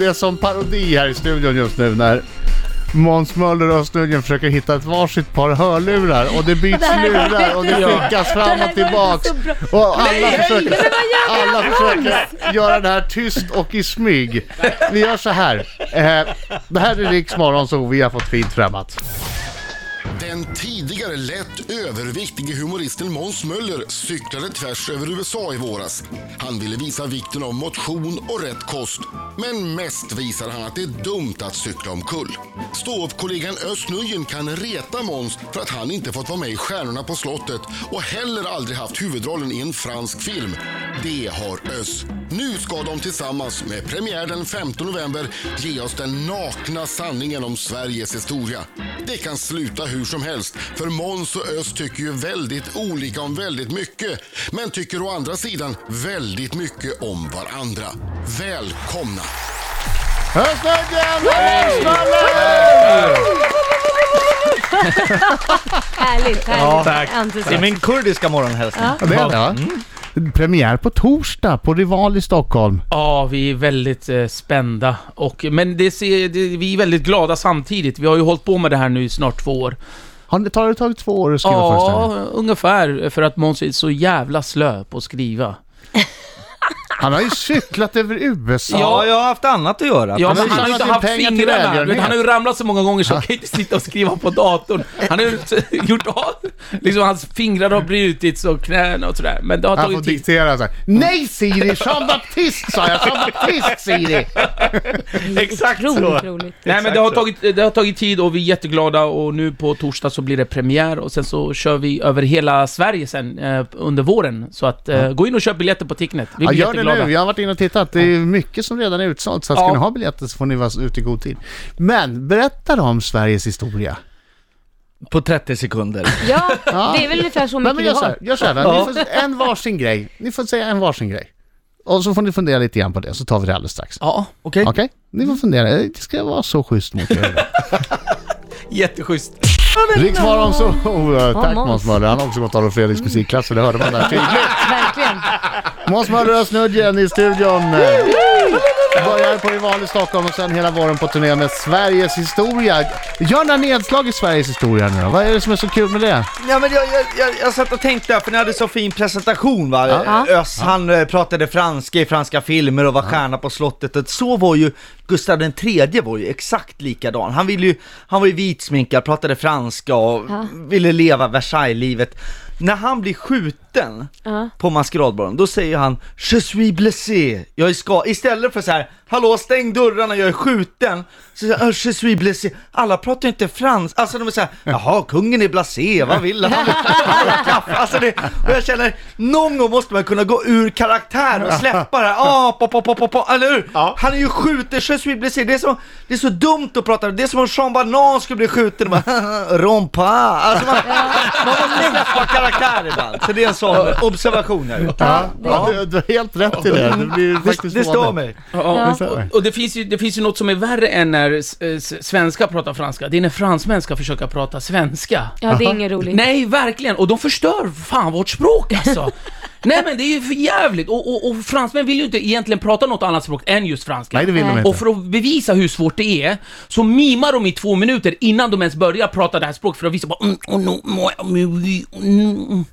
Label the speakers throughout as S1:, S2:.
S1: Det är som parodi här i studion just nu när Måns Möller och Snudgen försöker hitta ett varsitt par hörlurar och det byts
S2: Det här-
S1: lurar och det
S2: Ja.
S1: skickas
S2: Det
S1: fram
S2: här
S1: och
S2: går
S1: tillbaks.
S2: inte så
S1: Och alla
S2: Nej,
S1: försöker,
S2: men vad gör vi
S1: alla
S2: då,
S1: försöker göra det här tyst och i smyg. Vi gör så här. Eh, det här är Riks Morgonzoo, vi har fått fint främmat.
S3: Den tidigare lätt överviktige humoristen Måns Möller cyklade tvärs över USA i våras. Han ville visa vikten av motion och rätt kost. Men mest visar han att det är dumt att cykla omkull. Ståuppkollegan Özz Nujen kan reta Måns för att han inte fått vara med i Stjärnorna på slottet och heller aldrig haft huvudrollen i en fransk film. Det har Özz. Nu ska de tillsammans med premiär den 15 november ge oss den nakna sanningen om Sveriges historia. Det kan sluta hur som helst, för Måns och Ös tycker ju väldigt olika om väldigt mycket, men tycker å andra sidan väldigt mycket om varandra. Välkomna!
S1: Hör Snudgen! Hör Riks Möller!
S2: Härligt,
S4: Ja,
S2: härligt.
S4: tack. Det är
S2: Entusiasm.
S4: min kurdiska morgonhälsning.
S2: Ja.
S1: Ja, det är det va? Premiär på torsdag på Rival i Stockholm.
S5: Ja, vi är väldigt eh, spända. Och, men det ser, det, vi är väldigt glada samtidigt. Vi har ju hållit på med det här nu i snart två år.
S1: Har det tar det tagit två år att skriva föreställningen?
S5: Ja, ungefär. För att Måns är så jävla slö på att skriva.
S1: Han har ju cyklat över USA.
S5: Ja.
S4: Ja, jag har haft annat att göra.
S5: Ja,
S1: har
S5: men
S1: ju
S5: han har ju inte
S1: tjänat
S5: haft
S1: in pengar till
S5: fingrarna.
S1: välgörenhet.
S5: Du vet, Han har ju ramlat så många gånger så han kan inte sitta och skriva på datorn. Han har ju gjort av... Liksom hans fingrar har brutits och knäna och sådär. Men det har
S1: Han får
S5: tagit tid.
S1: diktera så här. Nej Siri, Jean Baptiste sa jag! Jean Baptiste Siri!
S4: Exakt
S2: Roligt, roligt.
S5: Nej men
S4: Exakt
S5: det har,
S4: så.
S5: tagit, det har tagit tid och vi är jätteglada och nu på torsdag så blir det premiär och sen så kör vi över hela Sverige sen eh, under våren. Så att eh, gå in och köp biljetter på Ticknet. Vi
S1: Ja,
S5: blir
S1: gör det
S5: jätteglada.
S1: nu, jag har varit inne och tittat. Det är ju mycket som redan är utsålt, så att ska
S5: Ja.
S1: ni ha biljetter så får ni vara ute i god tid. Men berätta då om Sveriges historia.
S4: På 30 sekunder.
S2: Ja, det är väl ungefär så
S1: Nej,
S2: mycket
S1: men
S2: vi
S1: gör så här,
S2: har.
S1: gör så här då.
S4: Ja.
S1: ni får, en varsin grej. Ni får säga en varsin grej. Och så får ni fundera lite grann på det, så tar vi det alldeles strax.
S5: Ja,
S4: Okej?
S1: Okej? Ni får fundera. Eh, Det ska vara så schysst mot er. idag.
S5: jätteschysst.
S1: Riksmorgon så... Oh, tack
S2: Måns.
S1: Måns Möller. Han har också gått Adolf Fredriks musikklasser, det hörde man där tydligt.
S2: Verkligen.
S1: Måns Möller och Snudgen i studion. Börjar på Rival i Stockholm och sen hela våren på turné med Sveriges historia. Gör några nedslag i Sveriges historia nu då. Vad är det som är så kul med det?
S4: Ja, men jag, jag, jag, jag satt och tänkte där, för ni hade så fin presentation va?
S2: Ja.
S4: Ös, han eh, pratade franska i franska filmer och var stjärna på slottet. Så var ju Gustav den tredje var ju exakt likadan. Han, ville ju, han var ju vitsminkad, pratade franska och
S2: Ja.
S4: ville leva Versailles-livet. När han blir skjuten
S2: Ja.
S4: på maskeradbaren, då säger han Je suis blessé, jag är ska Istället för så här, hallå stäng dörrarna, jag är skjuten. Så säger han, "Ah, Je suis blessé. Alla pratar ju inte franska. Alltså de är så här, jaha, kungen är blasé, vad vill han? Han vill ha kaffe. Alltså det, och jag känner, någon gång måste man kunna gå ur karaktär och släppa det här. Ah, pop, pop, pop, pop, pop. Eller hur? Han är ju skjuten, Je suis blessé. Det är, så, det är så dumt att prata, det är som om Jean Banan skulle bli skjuten. Och bara, Rompa. Alltså man, man måste släppa karaktär ibland. Så det är en sån observation jag har gjort.
S1: Ja, Du, du har helt rätt i det. Det blir
S4: Det,
S1: faktiskt
S4: det
S1: vanligt.
S4: står mig.
S5: Ja.
S1: Så här.
S5: Och, och det, finns ju, det finns ju något som är värre än när s- eh, s- svenskar pratar franska. Det är när fransmän ska försöka prata svenska.
S2: Ja, det är inget roligt.
S5: Nej, verkligen. Och de förstör fan vårt språk alltså. Nej men det är ju för jävligt. Och, och, och fransmän vill ju inte egentligen prata något annat språk än just franska.
S1: Nej, det vill de
S2: Nej.
S1: inte.
S5: Eh, Och för att bevisa hur svårt det är, så mimar de i två minuter innan de ens börjar prata det här språket för att visa bara... "Mm, oh, no, moi, mm, oui, mm, mm.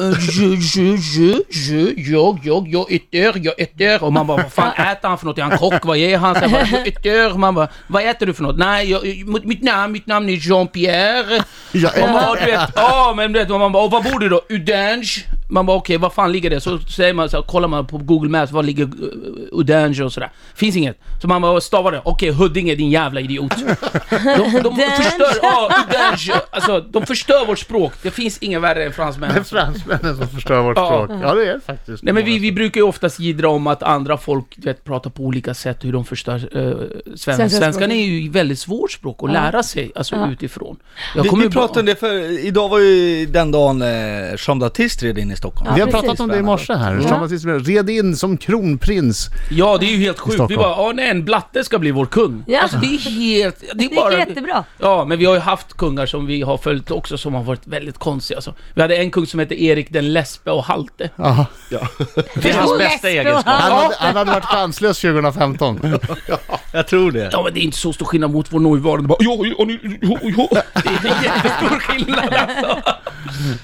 S5: Eh, Je, je, je, je, jag, jag, jag, äter, jag äter. Och man bara, vad fan äter han för något? Är han kock? Vad är han? Så jag bara, jag äter. Man bara, vad äter du för något? Nej, jag, mitt- mitt namn, mitt namn är Jean-Pierre.
S1: Jag
S5: Och
S1: är-
S5: man bara, du vet, ja men du vet, man bara, och var bor du då? Udange? Man bara, okej, var fan ligger det? Så säger man, så här, kollar man på Google Maps, var ligger eh, Udange och sådär. Finns inget. Så man bara stavar det, okej Huddinge din jävla idiot. De, de
S2: Udange.
S5: förstör, ja Udange, alltså de förstör vårt språk. Det finns inget värre än fransmän.
S1: Det är fransmännen som förstör vårt
S5: Ja.
S1: språk. Ja, det är det faktiskt.
S5: Nej men vi, vi brukar ju oftast jiddra om att andra folk du vet, pratar på olika sätt, hur de förstör eh, svenska.
S2: språket.
S5: Svenskan är ju ett väldigt svårt språk att lära sig, alltså utifrån. Jag
S4: Vi,
S5: kommer
S4: vi
S5: ju bara-
S4: pratade om det för idag var ju den dagen eh, Jean Baptiste red in i Stockholm.
S2: Ja,
S1: Vi har
S2: precis.
S1: pratat om det i morse här.
S2: Ja.
S1: Thomas Gisselberg red in som kronprins.
S5: Ja, det är ju helt sjukt. Vi
S1: Stockholm.
S5: bara, ja nej, en blatte ska bli vår kung.
S2: Ja.
S5: Alltså det är helt... Det
S2: Det
S5: är
S2: gick
S5: bara...
S2: jättebra.
S5: Ja, men vi har ju haft kungar som vi har följt också som har varit väldigt konstiga. Alltså, vi hade en kung som hette Erik den lesbe och halte.
S1: Ja.
S4: Det är hans bästa
S2: Läste och
S4: egenskap.
S1: Han, hade, han hade varit chanslös 2015.
S4: Jag tror det.
S5: Ja men det är inte så stor skillnad mot vår nuvarande bara jo, jo, jo, jo, jo. Det är jättestor skillnad alltså.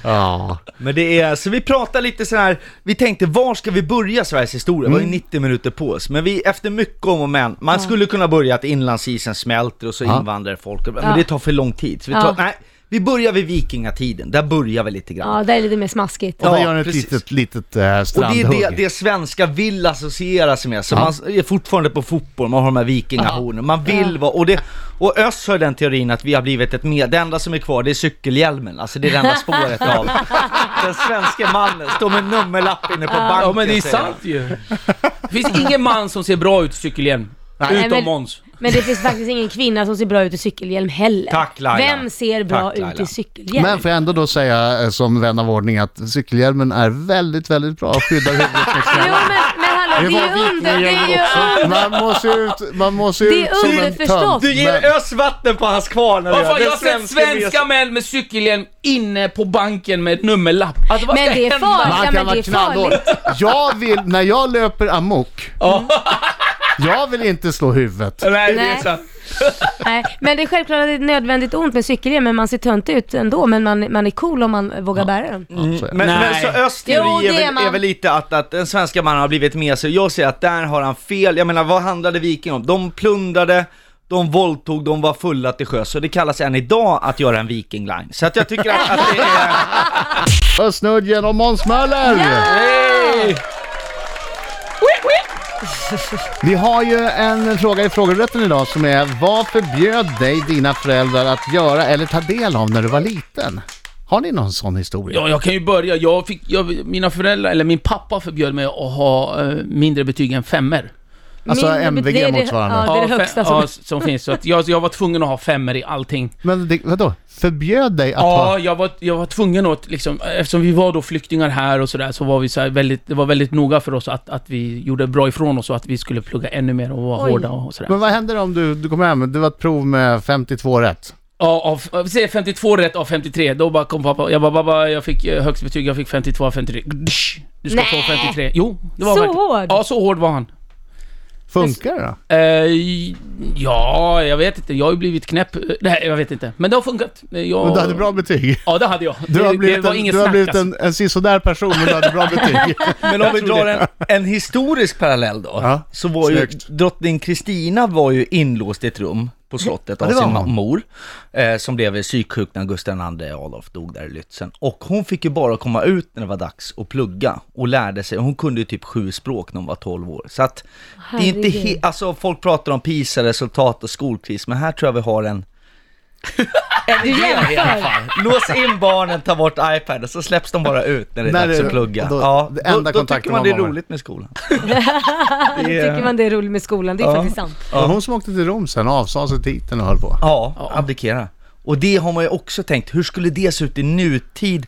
S1: Ja.
S4: Men det är, så vi pratar lite så här. vi tänkte var ska vi börja Sveriges historia?
S1: Mm.
S4: Vi har ju 90 minuter på oss, men vi, efter mycket om och men, man skulle kunna börja att inlandsisen smälter och så
S1: Ja.
S4: invandrar folk, men
S2: Ja.
S4: det tar för lång tid. Så vi tar,
S2: Ja.
S4: nej, vi börjar vid vikingatiden, där börjar vi lite grann.
S2: Ja, det är lite mer smaskigt.
S1: Och
S4: Ja,
S1: där gör han ett
S4: precis.
S1: litet, litet eh,
S4: Och det är
S1: strandhugg.
S4: det, det svenska vill associera sig med, så man är fortfarande på fotboll, man har de här vikingahornen, man vill vara, och, det, och Öss har den teorin att vi har blivit ett med, det enda som är kvar det är cykelhjälmen, alltså det är det enda spåret av den svenska mannen, står med nummerlapp inne på banken
S5: Ja men det är
S4: säger han.
S5: sant ju. Det finns ingen man som ser bra ut i cykelhjälm.
S2: Nej,
S5: Utom
S2: men-
S5: Måns.
S2: Men det finns faktiskt ingen kvinna som ser bra ut i cykelhjälm heller.
S4: Tack, Laila.
S2: Vem ser bra
S4: Tack,
S2: ut
S4: Laila.
S2: i cykelhjälm?
S1: Men får jag ändå då säga eh, som vän av ordning att cykelhjälmen är väldigt, väldigt bra och skyddar huvudet mot
S2: Jo
S1: knäna.
S2: men, men hallå, det är ju under... Det är
S1: vikingagänget
S2: ju
S1: också.
S2: under...
S1: Man måste ut, man måste
S2: Det
S1: ut
S2: är
S1: som en
S2: underförstått.
S1: tönt.
S4: Du ger
S1: Men-
S4: ös vatten på hans kvarn när du
S5: Vad
S4: gör
S5: fan,
S4: det.
S5: jag har sett
S4: Svenska
S5: svenska män med cykelhjälm inne på banken med ett nummerlapp. Alltså, vad
S2: Men
S5: ska
S2: det är
S5: hända?
S2: farligt.
S1: Man
S2: Ja,
S1: kan
S2: men
S1: vara
S2: det är farligt.
S1: knallhård. Jag vill, när jag löper amok,
S5: Ja.
S1: jag vill inte slå huvudet.
S5: Nej, det är
S2: Nej.
S5: sant.
S2: Nej, men det är självklart att det är ett nödvändigt ont med cykelhjälm, men man ser tönt ut ändå, men man, man är cool om man vågar bära den.
S1: Ja, så är det.
S4: Men, men
S5: Nej.
S4: så Ös
S2: Jo, det
S4: teori är,
S2: är
S4: väl, är
S2: man.
S4: väl lite att, att den svenska mannen har blivit med sig. Jag säger att där har han fel. Jag menar, vad handlade viking om? De plundrade, de våldtog, de var fulla till sjöss. Så det kallas än idag att göra en viking line. Så att jag tycker att, att det är...
S1: Ös Nudgen och Måns Möller! Vi har ju en fråga i frågerätten idag som är Vad förbjöd dig dina föräldrar att göra eller ta del av när du var liten? Har ni någon sån historia?
S5: Ja, jag kan ju börja. Jag fick, jag, mina föräldrar, eller min pappa förbjöd mig att ha eh, mindre betyg än femmer.
S1: Alltså
S2: Min- det är
S1: MVG
S2: det-
S1: motsvarande.
S2: ja. det är det högsta
S5: som...
S2: som-
S5: Ja, som finns. Så att jag, jag var tvungen att ha femmer i allting.
S1: Men det, vadå? Förbjöd dig att
S5: Ja,
S1: ha...
S5: jag var, jag var tvungen att liksom, eftersom vi var då flyktingar här och sådär, så var vi så här väldigt, det var väldigt noga för oss att, att vi gjorde bra ifrån oss och att vi skulle plugga ännu mer och vara
S2: Oj.
S5: hårda och sådär.
S1: Men vad händer om du, du kommer hem, du var ett prov med 52 rätt?
S5: Ja, av, vi säger 52 rätt av 53, då bara kom pappa, jag bara pappa, jag fick eh, högst betyg, jag fick 52 av 53. Gdsch! Du ska få
S2: Nej.
S5: 53. Jo, det var
S2: Så
S5: verkligen-
S2: hård?
S5: Ja, så hård var han.
S1: Funkar det då?
S5: Eh, ja, jag vet inte. Jag har ju blivit knäpp. Eh, Nej, jag vet inte. Men det har funkat. Eh, Jag...
S1: Men du hade bra betyg?
S5: Ja, det hade jag.
S1: Du har
S5: det,
S1: blivit,
S5: det var
S1: en,
S5: inget
S1: du har
S5: snack,
S1: blivit
S5: alltså.
S1: en, en sisådär person men du hade bra betyg.
S4: Men om vi
S5: tror
S4: drar
S5: det.
S4: en, en historisk parallell då,
S1: Ja,
S4: så var ju
S1: snyggt.
S4: drottning Kristina var ju inlåst i ett rum på slottet
S1: Ja,
S4: av
S1: det var
S4: sin ma-
S1: hon.
S4: mor, eh, som blev psyksjuk när Gustav II Adolf dog där i Lützen. Och hon fick ju bara komma ut när det var dags att plugga och lärde sig, hon kunde ju typ sju språk när hon var 12 år. Så att det är inte
S2: Herregud.
S4: he- alltså folk pratar om PISA-resultat och skolkris, men här tror jag vi har en en idé i alla fall. Lås in barnen, ta bort iPaden, så släpps de bara ut när det är
S1: När
S4: dags
S1: det-
S4: att plugga.
S1: då-
S4: ja,
S1: det
S4: då,
S1: enda
S4: då tycker
S1: kontakten
S4: man
S1: man
S4: det är
S1: har med-
S4: roligt med skolan.
S2: Tycker man det är roligt med skolan, det är
S4: Ja.
S2: faktiskt sant.
S1: Det var Hon som åkte till Rom sen och avsade sig titeln och höll på.
S4: Ja, abdikera. Och det har man ju också tänkt, hur skulle det se ut i nutid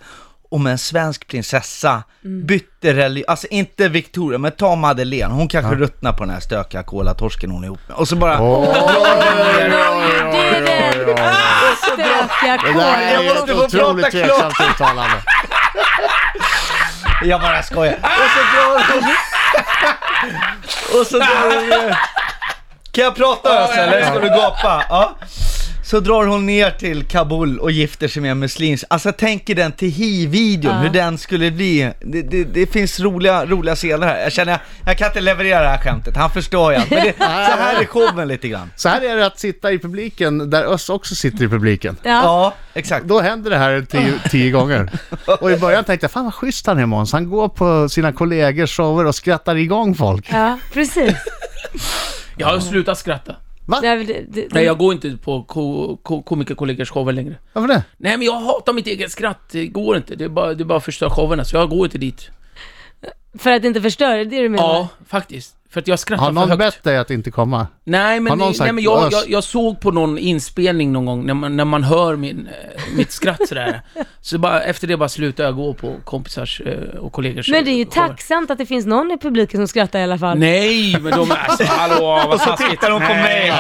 S4: om en svensk prinsessa bytte religion, alltså inte Victoria, men ta Madeleine, hon kanske ruttnar på den här stökiga kolatorsken hon är ihop med. Och så bara,
S2: Det är den stökiga
S1: Det där är
S2: kåren.
S1: ju
S4: Jag måste få
S1: ett
S4: prata
S1: otroligt tveksamt uttalande.
S4: jag bara skojar. Och så drar hon... Och så drar hon... ju- Kan jag prata Özz eller ska du gapa? Ja. Så drar hon ner till Kabul och gifter sig med en muslims. Alltså tänk er den till videon
S2: Ja.
S4: hur den skulle bli. Det, det, det finns roliga, roliga scener här. Jag känner, jag kan inte leverera det här skämtet, han förstår jag. Men det, så här är showen lite grann.
S1: Så här är det att sitta i publiken där Özz också sitter i publiken.
S2: Ja.
S4: Ja, exakt.
S1: Då händer det här tio, tio gånger. Och i början tänkte jag, fan vad schysst han är Måns. Han går på sina kollegors shower och skrattar igång folk.
S2: ja, precis.
S5: Jag har slutat skratta.
S1: Mm.
S2: Det är väl- det- det-
S5: Nej, jag går inte på ko- ko- komikerkollegors shower längre.
S1: Varför det?
S5: Nej, men jag hatar mitt eget skratt. Det går inte. Det är bara, det är bara förstör showerna, så jag går inte dit.
S2: För att inte förstöra, det är det du menar?
S5: Ja, faktiskt. För att jag skrattar
S1: Har
S5: för
S1: någon
S5: högt.
S1: bett dig att inte komma?
S5: Nej
S1: Har någon
S5: men, nej,
S1: sagt
S5: men jag,
S1: ös?
S5: jag, jag såg på någon inspelning någon gång när man, när man hör min, eh, mitt skratt sådär. Så bara, efter det bara slutade jag gå på kompisars eh, och kollegors
S2: Men det är ju
S5: shower.
S2: tacksamt att det finns någon i publiken som skrattar i alla fall.
S5: Nej, men de är... Alltså, hallå, vad taskigt.
S4: Tittar de på mig?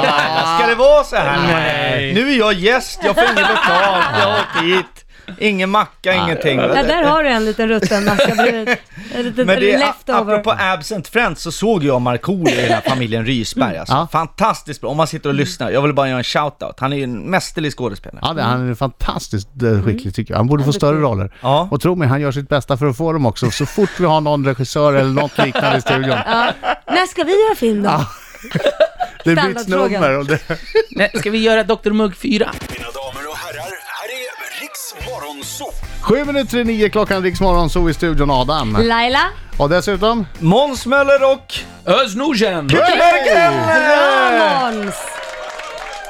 S4: Ska det vara så här? Nej. Nu är jag gäst, jag får inget betalt, jag har åkt hit. Ingen macka, ingenting.
S2: Ja, där har du en liten rutten macka bredvid. En liten
S4: Men det, a-
S2: leftover.
S4: apropå absent friends så såg jag Markoolio i den här familjen Rysberg alltså.
S1: Ja. Mm.
S4: Fantastiskt bra, om man sitter och lyssnar. Jag vill bara göra en shout-out. Han är ju en mästerlig skådespelare.
S1: Ja, det, han är fantastiskt eh, skicklig tycker jag. Han borde få större roller.
S4: Ja.
S1: Och tro mig, han gör sitt bästa för att få dem också. Så fort vi har någon regissör eller något liknande i studion.
S2: När ska vi göra film då?
S1: Det byts
S2: Standardfrågan.
S1: nummer. Och det...
S5: Nej, ska vi göra Dr. Mugg 4?
S6: Mina damer och herrar, här är Riks Morgonzoo!
S1: Sju minuter i nio klockan, Rix Morgon, så i studion Adam.
S5: Mm.
S2: Laila?
S1: Och dessutom...
S4: Måns Möller och
S5: Özz Nujen!
S2: Bra Måns!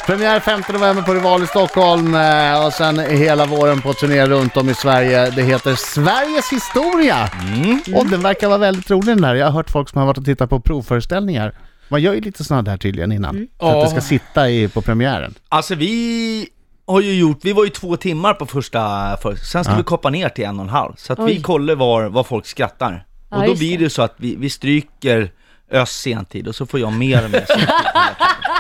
S1: Premiär 5 november på Rival i Stockholm eh, och sen hela våren på turné runt om i Sverige. Det heter Sveriges historia.
S5: Mm.
S1: Och den verkar vara väldigt rolig den här. Jag har hört folk som har varit och tittat på provföreställningar. Man gör ju lite sådana där tydligen innan. För att det ska
S5: Ja.
S1: sitta i, på premiären.
S4: Alltså vi har ju gjort, vi var ju två timmar på första för, sen ska vi koppa ner till en och en halv. Så att vi
S2: Oj.
S4: kollar var, var folk skrattar.
S2: Ja,
S4: och då
S2: just
S4: blir
S2: det.
S4: det ju så att vi, vi stryker Ös sentid och så får jag mer och mer sentid.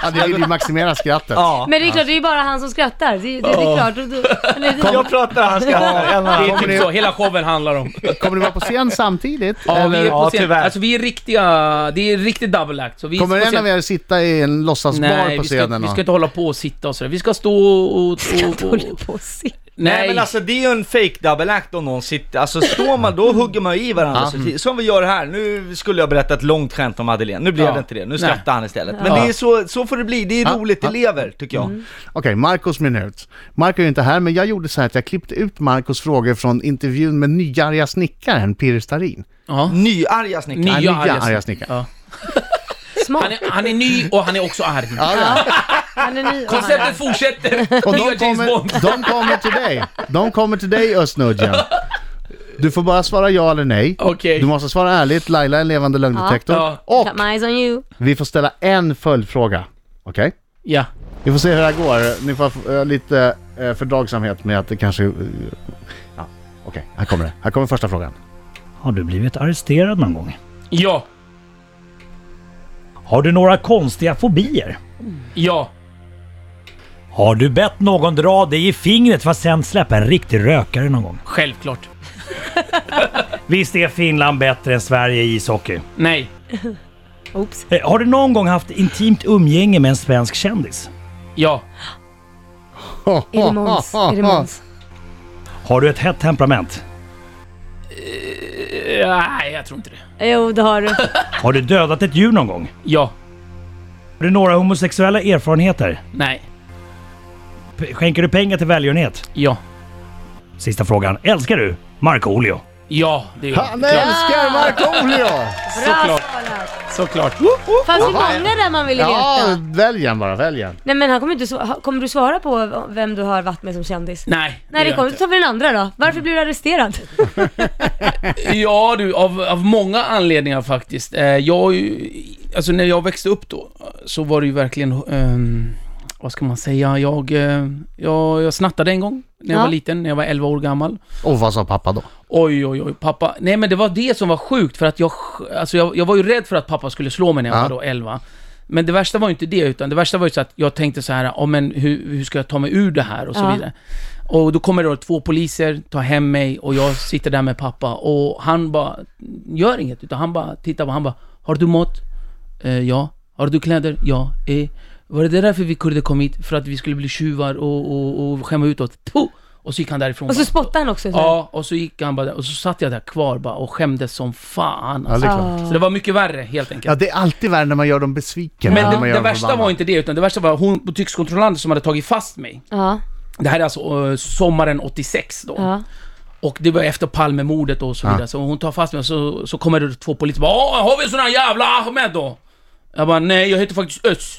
S1: Ja, det vill ju maximera skrattet.
S4: Ja.
S2: Men det är klart, det är ju bara han som skrattar. Det, det, det är klart. Du- du- eller det-
S4: Jag pratar, han ska ha en och en
S5: Det är
S4: halv.
S5: typ så, hela showen handlar om.
S1: Kommer du vara på scen samtidigt?
S5: Ja, vi
S1: Eller
S5: är på
S4: Ja,
S5: scen.
S4: tyvärr.
S5: Alltså vi är riktiga, det är riktigt double act. Så vi är
S1: kommer
S5: på
S1: en
S5: scen-
S1: av er sitta i en låtsasbar
S5: Nej,
S1: på
S5: vi ska,
S1: scenen?
S5: vi
S1: och-
S5: ska inte hålla på och sitta och sådär. Vi ska stå och... och, och, och
S2: håller på att se.
S4: Nej men alltså det är ju en fake double act om någon sitter, alltså står man då hugger man i varandra så tid. Som vi gör här, nu skulle jag berätta ett långt skämt om Madeleine, nu blev
S5: Ja.
S4: det inte det, nu
S5: Nej.
S4: skrattar han istället. Men det är så, så får det bli, det är
S1: Ja.
S4: roligt, det
S1: Ja.
S4: lever tycker jag.
S5: Mm.
S1: Okej, Marcos minut. Marco är ju inte här, men jag gjorde så här att jag klippte ut Marcos frågor från intervjun med nyarga snickaren Pirre Starin.
S5: Ja.
S4: Nyarga snickare.
S5: Nya,
S1: nya
S5: arga,
S1: arga
S5: snickare.
S1: snickare.
S5: Ja.
S2: Smart.
S5: Han, är, han är ny och han är också arg.
S2: Han är ny och han är-
S5: Konceptet fortsätter!
S1: Och
S5: Nya
S1: de
S5: James Bond.
S1: kommer, de kommer till dig. De kommer till dig, Östnudgen. Du får bara svara ja eller nej.
S5: Okej.
S1: Du måste svara ärligt. Laila är en levande lögndetektor.
S5: Ja.
S1: Och
S2: Got my eyes on you.
S1: vi får ställa en följdfråga. Okej?
S5: Ja.
S1: Vi får se hur det här går. Ni får eh, lite eh, fördragsamhet med att det kanske... eh, ja, okej. Här kommer det. Här kommer första frågan.
S7: Har du blivit arresterad någon gång?
S5: Ja.
S7: Har du några konstiga fobier?
S5: Ja.
S7: Har du bett någon dra dig i fingret för att sen släppa en riktig rökare någon gång?
S5: Självklart.
S7: Visst är Finland bättre än Sverige i ishockey?
S5: Nej.
S2: Oops.
S7: Eh, Har du någon gång haft intimt umgänge med en svensk kändis?
S5: Ja.
S2: Är
S1: Ah,
S2: det Måns? Är det Måns?
S7: Har du ett hett temperament?
S5: Eh, Nej, jag tror inte det.
S2: Jo, det har du.
S7: Har du dödat ett djur någon gång?
S5: Ja.
S7: Har du några homosexuella erfarenheter?
S5: Nej.
S7: P- skänker du pengar till välgörenhet?
S5: Ja.
S7: Sista frågan. Älskar du Markoolio?
S5: Ja, det är
S1: Han älskar Markoolio!
S2: Bra
S5: Såklart.
S2: svarat.
S5: Såklart.
S2: Fanns ju många där man ville
S1: Ja,
S2: veta.
S1: välj en bara, välj en.
S2: Nej men han kommer, inte svara, kommer du svara på vem du har varit med som kändis?
S5: Nej,
S2: Nej det
S5: gör jag
S2: kommer, då
S5: inte.
S2: tar vi den andra då. Varför blir du arresterad?
S5: Ja du, av, av många anledningar faktiskt. Eh, Jag, har ju- alltså när jag växte upp då, så var det ju verkligen, ehm, vad ska man säga, jag, eh, jag, jag snattade en gång när jag
S2: Ja.
S5: var liten, när jag var 11 år gammal.
S1: Och vad sa pappa då?
S5: Oj, oj, oj, pappa. Nej men det var det som var sjukt för att jag, alltså jag, jag var ju rädd för att pappa skulle slå mig när jag
S1: Ja.
S5: var då 11. Men det värsta var ju inte det, utan det värsta var ju så att jag tänkte så här, oh, men hur, hur ska jag ta mig ur det här och så
S2: Ja.
S5: vidare. Och då kommer det då två poliser, tar hem mig och jag sitter där med pappa och han bara gör inget, utan han bara tittar på, han bara, har du mat? Eh, ja. Har du kläder? Ja. Eh, var det därför vi kurder kom hit? För att vi skulle bli tjuvar och, och, och skämma utåt? Puh! Och så gick han därifrån.
S2: Och så
S5: bara.
S2: spottar han också.
S5: Ja, och så gick han bara där, och så satt jag där kvar bara och skämdes som fan
S1: Ja,
S5: alltså.
S1: det är klart.
S5: Så det var mycket värre helt enkelt.
S1: Ja, det är alltid värre när man gör dem besvikna.
S5: Men
S1: när man
S5: det,
S1: gör
S5: det
S1: dem
S5: värsta
S1: förbannade.
S5: var inte det, utan det värsta var hon butikskontrollanten som hade tagit fast mig.
S2: Ja.
S5: Det här är alltså eh, sommaren 86 då.
S2: ja.
S5: Och det var efter Palmemordet och så vidare. Så hon tar fast mig och så, så kommer det två poliser bara "Åh, har vi en sån här jävla Ahmed då?” Jag bara “Nej, jag heter faktiskt Ös”.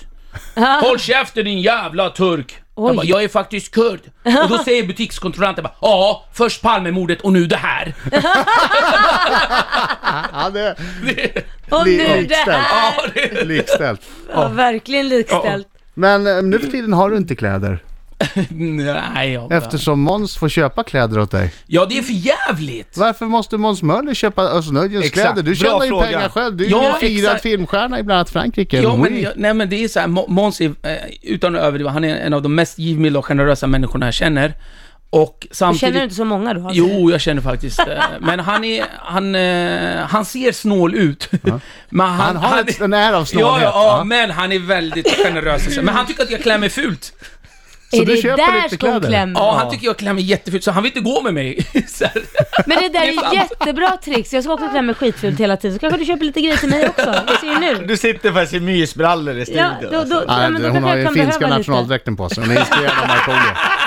S5: “Håll käften din jävla turk!”
S2: Oj.
S5: Jag, bara, jag är faktiskt kurd. Och då säger butikskontrollanten bara ja, först Palmemordet och nu det här.
S1: Ja, det
S2: Och
S1: li-
S2: nu det
S1: likställt.
S2: här!
S5: Ja, det-
S1: likställt.
S2: Ja, verkligen likställt.
S1: Men eh, nu för tiden har du inte kläder.
S5: Nej, jag
S1: Eftersom Måns får köpa kläder åt dig.
S5: Ja, det är för jävligt.
S1: Varför måste Måns Möller köpa Özz Nöjdens
S4: Exakt.
S1: kläder? Du
S4: Bra
S1: tjänar ju
S4: fråga.
S1: pengar själv. Du är ju
S5: Ja,
S1: en firad
S5: exakt.
S1: filmstjärna i bland annat Frankrike.
S5: Ja, men,
S1: Oui.
S5: jag- nej men det är så här, Må- Måns är, eh, utan att överdriva, han är en av de mest givmilda och generösa människorna jag känner. Och
S2: Du
S5: samtidigt...
S2: känner du inte så många då? alltså?
S5: Jo, jag känner faktiskt eh, Men han är, han, eh, han ser snål ut. Men han,
S1: Han har ett, en
S5: är,
S1: är av
S5: ja,
S1: snålhet.
S5: ja,
S1: va?
S5: ja, men han är väldigt generös. Men han tycker att jag klär mig fult.
S1: så
S2: är
S1: du
S2: det
S1: köper
S2: där
S1: lite
S2: skon
S1: kläder?
S2: klämmer?
S5: Ja, han tycker jag klär mig jättefult, så han vill inte gå med mig. Så här.
S2: Men det där
S5: Det är
S2: är
S5: fan-
S2: jättebra tricks. Jag ska också klä mig skitfult hela tiden. Så kanske du köper lite grejer till mig också. Vi ser ju nu.
S4: Du sitter faktiskt i mysbrallor i
S2: Ja,
S4: studion.
S2: då, då,
S4: alltså.
S2: ja,
S1: Nej,
S2: men då
S1: hon har
S2: kanske jag
S1: ju
S2: kan
S1: finska
S2: behöva lite.
S1: nationaldräkten på sig. Hon är inspirerad av Markoolio.